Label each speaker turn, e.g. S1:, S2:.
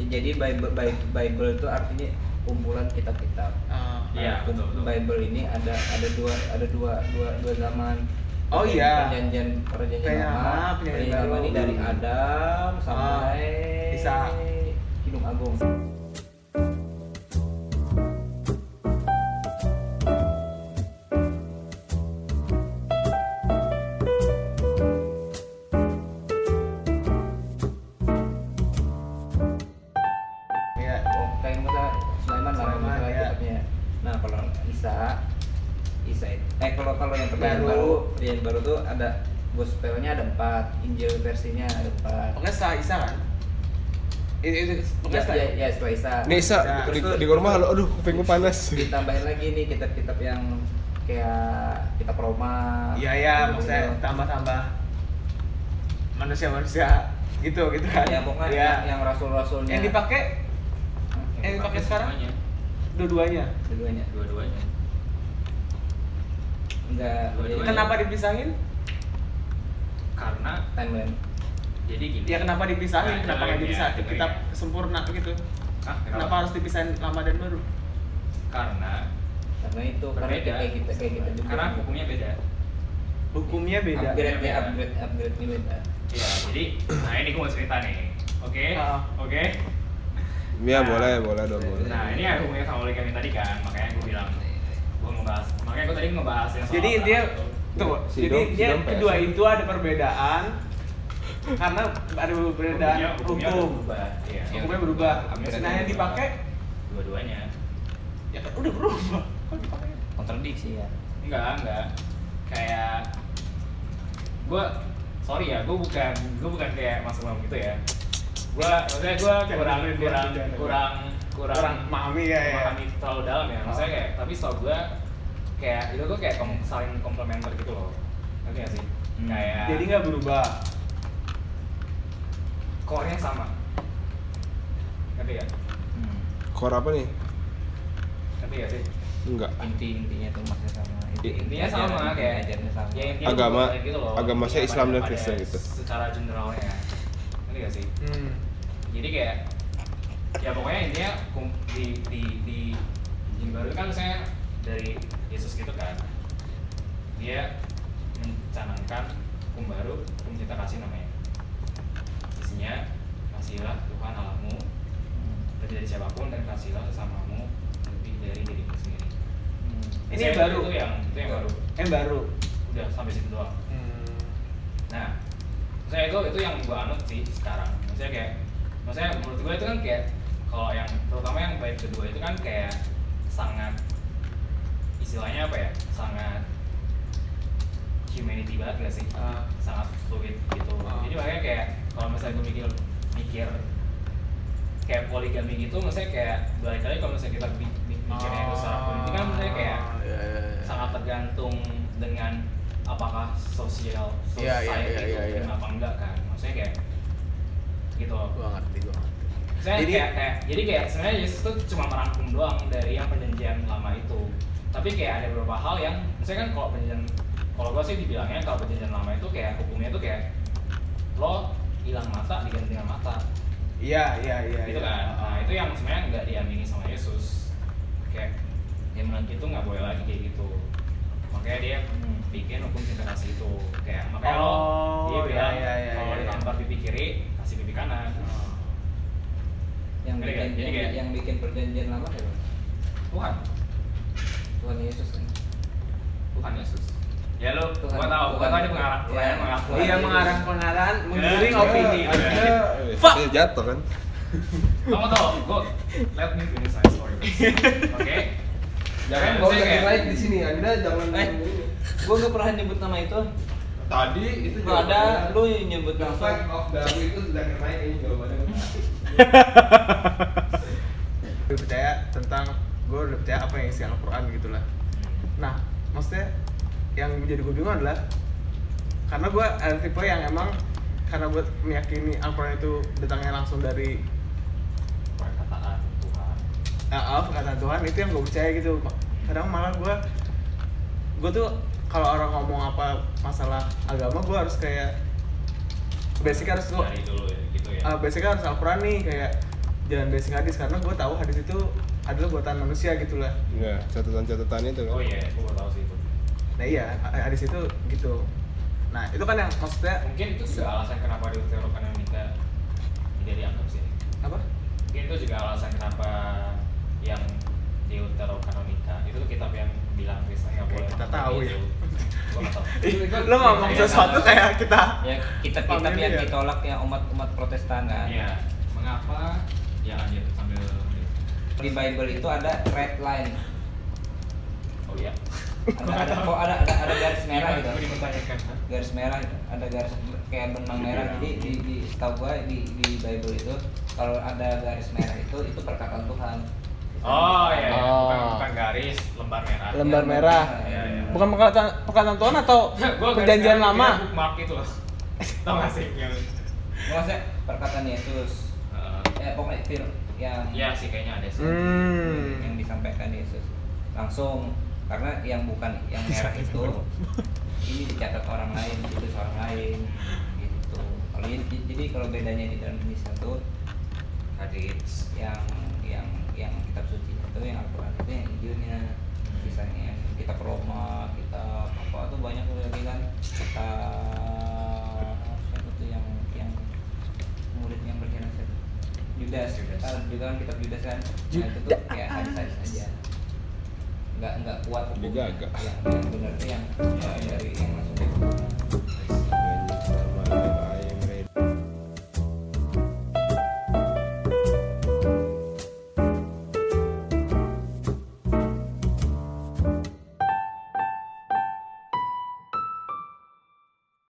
S1: Ya, jadi Bible, Bi- Bible itu artinya kumpulan kitab-kitab.
S2: Ah.
S1: Nah,
S3: Iya, betul, betul.
S1: Bible ini ada ada dua ada dua dua dua zaman.
S2: Oh,
S1: Perjanjian-
S2: iya.
S1: Perjanjian perjanjian
S2: Kayak
S1: lama,
S2: lama, perjanjian
S1: perjanjian lama
S2: baru. Ah,
S1: ini dari Adam sampai
S2: Ishak.
S1: Kidung Agung.
S2: Iya.
S1: Oh, kayak misalnya Sulaiman lah
S2: Sulaiman,
S1: misalnya
S2: ya.
S1: kitabnya. Nah kalau Isa Isa itu- eh kalau kalau yang perjanjian
S2: Baru.
S1: baru perjanjian baru tuh ada gospelnya ada empat, Injil versinya ada empat.
S2: Pokoknya setelah Isa kan? Itu itu pokoknya
S1: Ya,
S2: setelah
S1: ya, ya setelah Isa.
S4: Nih Sa,
S2: Nah,
S4: di,
S1: terus-
S4: di rumah lo, aduh kupingku panas.
S1: ditambahin lagi nih kitab-kitab yang kayak kitab Roma
S2: Iya iya maksudnya
S1: gitu.
S2: tambah-tambah manusia-manusia gitu gitu kan.
S1: ya pokoknya
S2: Iya.
S1: yang, yang rasul-rasulnya
S2: yang dipakai yang dipakai sekarang
S3: semuanya.
S2: dua-duanya.
S1: keduanya
S3: Dua-duanya.
S1: enggak
S3: Dua-duanya.
S1: jadi
S2: Kenapa dipisahin?
S3: Karena
S1: timeline
S3: jadi gini.
S2: Ya kenapa dipisahin?
S3: Nah,
S2: kenapa
S3: dengerin
S2: nggak dipisahin?
S3: ya, dengerin
S2: Kitab
S3: ya.
S2: sempurna gitu.
S3: Hah,
S2: Kenapa harus dipisahin lama dan baru?
S3: Karena
S1: karena itu karena
S3: berbeda.
S1: kayak kita kayak kita juga
S3: Karena hukumnya beda.
S2: Hukumnya beda.
S1: upgrade ya
S3: Beda.
S1: upgrade upgrade nilai Pak.
S3: Ya, jadi nah ini gue mau cerita nih. Oke.
S2: Ah.
S3: Oke.
S4: Ya
S3: Nah,
S4: boleh, boleh dong boleh.
S3: Nah, ini ada hubungannya sama Oli kami tadi kan, makanya gue bilang gue ngebahas. Makanya gue tadi ngebahas yang soal
S2: Jadi intinya
S3: perang itu.
S2: tuh,
S4: Si
S2: jadi
S4: Dom- si
S2: dia
S4: Dom PS.
S2: kedua itu ada perbedaan karena ada perbedaan
S3: Hukumnya- hukumnya udah
S2: hukum.
S3: berubah. Iya.
S2: Hukumnya berubah.
S3: Hukumnya
S2: Nah, yang
S3: berubah.
S2: dipakai
S3: dua-duanya.
S2: ya kan udah berubah. Kok dipakai?
S1: kontradiksi ya
S3: Enggak, enggak. Kayak gue sorry ya, gue bukan gue bukan kayak Mas Umam gitu ya. Gue maksudnya gue
S2: Jangan
S3: kurang
S2: dengerin dia,
S3: kurang
S2: jangan dengerin.
S3: kurang kurang
S2: Kurang memahami ya, ya.
S3: memahami terlalu dalam ya. Maksudnya kayak tapi soal gue kayak itu tuh kayak kom- saling komplementer gitu loh. Ngerti gak sih?
S1: Hmm.
S3: Kayak
S2: Jadi nggak berubah.
S3: core-nya sama. Ngerti ya?
S1: hmm.
S4: Kor apa nih?
S3: Ngerti gak sih?
S4: Enggak.
S1: inti intinya tuh masih sama inti
S3: intinya sama kayak
S1: ajarnya gitu, sama
S3: ya, intinya
S4: Agama-
S3: kayak gitu loh.
S4: agama saya
S3: Pada-
S4: Islam dan
S3: pada
S4: Kristen gitu.
S3: secara generalnya ngerti gak sih
S2: Hmm.
S3: jadi kayak ya pokoknya intinya kum- di di di Injil baru kan misalnya dari Yesus gitu kan dia mencanangkan hukum baru hukum cinta kasih namanya isinya kasihilah Tuhan Allahmu lebih dari siapapun dan kasihilah sesamamu lebih dari dirimu sendiri
S1: Hmm.
S2: Ini
S3: Saya-
S2: yang baru.
S3: itu yang itu yang baru
S2: Yang baru.
S3: udah sampai situ doang Nah, saya itu itu yang gue anut sih sekarang. Maksudnya kayak, maksudnya menurut gue itu kan kayak kalau yang terutama yang bait kedua itu kan kayak sangat istilahnya apa ya? Sangat humanity banget gak sih?
S2: Ah.
S3: Sangat fluid gitu.
S2: Ah.
S3: Jadi makanya kayak kalau misalnya gue mikir mikir kayak poligami gitu, maksudnya kayak balik lagi kalau misalnya kita bi- bi- mikirnya itu secara politik kan maksudnya kayak
S2: Iya, iya, iya.
S3: sangat tergantung dengan apakah sosial
S2: Iya,
S3: society
S2: iya, iya,
S3: itu
S2: iya, iya.
S3: terima apa enggak kan maksudnya kayak gitu loh
S2: Gua ngerti, gua ngerti.
S3: saya
S2: Jadi-
S3: kayak, kayak jadi kayak sebenarnya Yesus tuh cuma merangkum doang dari yang perjanjian lama itu tapi kayak ada beberapa hal yang misalnya kan kalau perjanjian kalau gua sih dibilangnya kalau perjanjian lama itu kayak hukumnya itu kayak lo hilang mata diganti dengan mata
S2: Iya, iya, iya.
S3: gitu
S2: iya.
S3: kan nah itu yang sebenarnya nggak diamini sama Yesus kayak yang menang itu nggak boleh lagi kayak gitu makanya dia
S1: Hmm.
S3: bikin hukum cinta kasih itu kayak makanya lo
S2: Oh,
S3: dia bilang
S2: iya, iya,
S3: kalau
S2: iya, iya.
S3: ditampar pipi kiri kasih pipi kanan
S1: yang bikin
S3: Jadi kayak- jadi
S1: yang,
S3: kayak-
S1: yang bikin perjanjian lama siapa
S3: Tuhan
S1: Tuhan Yesus kan
S3: Tuhan Yesus ya lo
S1: Tuhan.
S3: gua tau gua tau dia mengarah
S1: Iya.
S3: pelayan mengarah
S2: Oh, Iya mengarah pengarahan, menggiring
S3: Iya,
S2: opini.
S3: iya,
S2: Oke.
S3: iya.
S2: Fuck.
S4: Saya jatuh kan.
S3: kamu tau gua let me finish my story first. oke
S4: Jangan
S3: Nah,
S4: bawa
S3: saya
S4: yang
S3: kayak-
S4: lain di sini. Anda jangan.
S1: Eh. gua gak pernah nyebut nama itu
S4: Tadi itu
S1: Gak ada lu yang nyebut
S4: The
S1: nama
S4: fact of Darwin itu sudah kena ini jawabannya.
S2: Gue percaya tentang gue udah percaya apa yang isi Al-Quran gitulah. Nah, maksudnya yang jadi gue bingung adalah karena gue ada tipe yang emang karena gue meyakini Al-Quran itu datangnya langsung dari
S3: perkataan Tuhan
S2: uh, perkataan Tuhan itu yang gue percaya gitu. Ma- Kadang malah gue gue tuh kalau orang ngomong apa masalah agama gue harus kayak basic harus gue
S3: dari dulu ya gitu ya
S2: Ah,
S4: Ah,
S2: uh, basicnya harus Al-Quran kan nih kayak jangan basic hadis karena gue tahu hadis itu adalah buatan manusia gitu lah
S5: Enggak, catatan-catatan itu kan.
S3: oh iya gue baru tahu sih itu
S2: nah iya hadis itu gitu nah itu kan yang maksudnya
S3: mungkin itu juga alasan kenapa di teologi Amerika tidak dianggap sih
S2: apa
S3: mungkin itu juga alasan kenapa yang Deuterokanonika itu kitab yang bilang Kristen nggak
S2: Oke,
S3: boleh
S2: kita
S3: makan
S2: tahu
S3: keju.
S2: ya.
S3: Gua nggak tahu.
S2: lo ngomong
S3: Iya,
S2: sesuatu
S3: sama.
S2: kayak kita
S1: ya kitab-kitab
S2: Familiar.
S1: yang ditolak ya umat-umat protestan kan
S3: Iya, mengapa ya lanjut sambil
S1: di Bible itu ada red line
S3: oh iya
S1: ada ada kok ada ada, ada garis merah gitu
S3: Gue dipertanyakan Hah?
S1: garis merah gitu. ada garis kayak benang merah jadi di di setahu gua di di Bible itu kalau ada garis merah itu itu perkataan Tuhan
S3: oh iya iya. bukan,
S5: Oh.
S3: bukan garis lembar merah
S5: Lem- Lembar merah.
S3: Iya, iya.
S5: Bukan perkataan perkataan Tuhan atau
S3: Ya. Gua garis gitu.
S5: perjanjian
S3: merah dikira
S5: lama?
S3: bookmark itu loh tau gak sih yang
S1: maksudnya perkataan Yesus ya
S3: Eh,
S1: pokoknya fir- yang
S3: Iya sih kayaknya ada sih
S1: yang
S5: Hmm.
S1: disampaikan Yesus langsung karena yang bukan yang merah itu ini dicatat orang lain ditulis orang lain gitu kalau ini- jadi kalau bedanya di dalam ini satu
S3: hadits
S1: yang yang yang kitab suci itu yang Al-Quran itu yang Injilnya sisanya kita Roma kita apa tuh banyak tuh lagi kan kita siapa tuh yang yang murid yang berkhianat Judas
S3: Judas.
S1: Ah, juga kan kitab Judas kan nah itu tuh kayak hadis-hadis aja nggak nggak kuat Iya,
S5: Digaga.
S1: ya, yang benar tuh yang yang dari yang masuk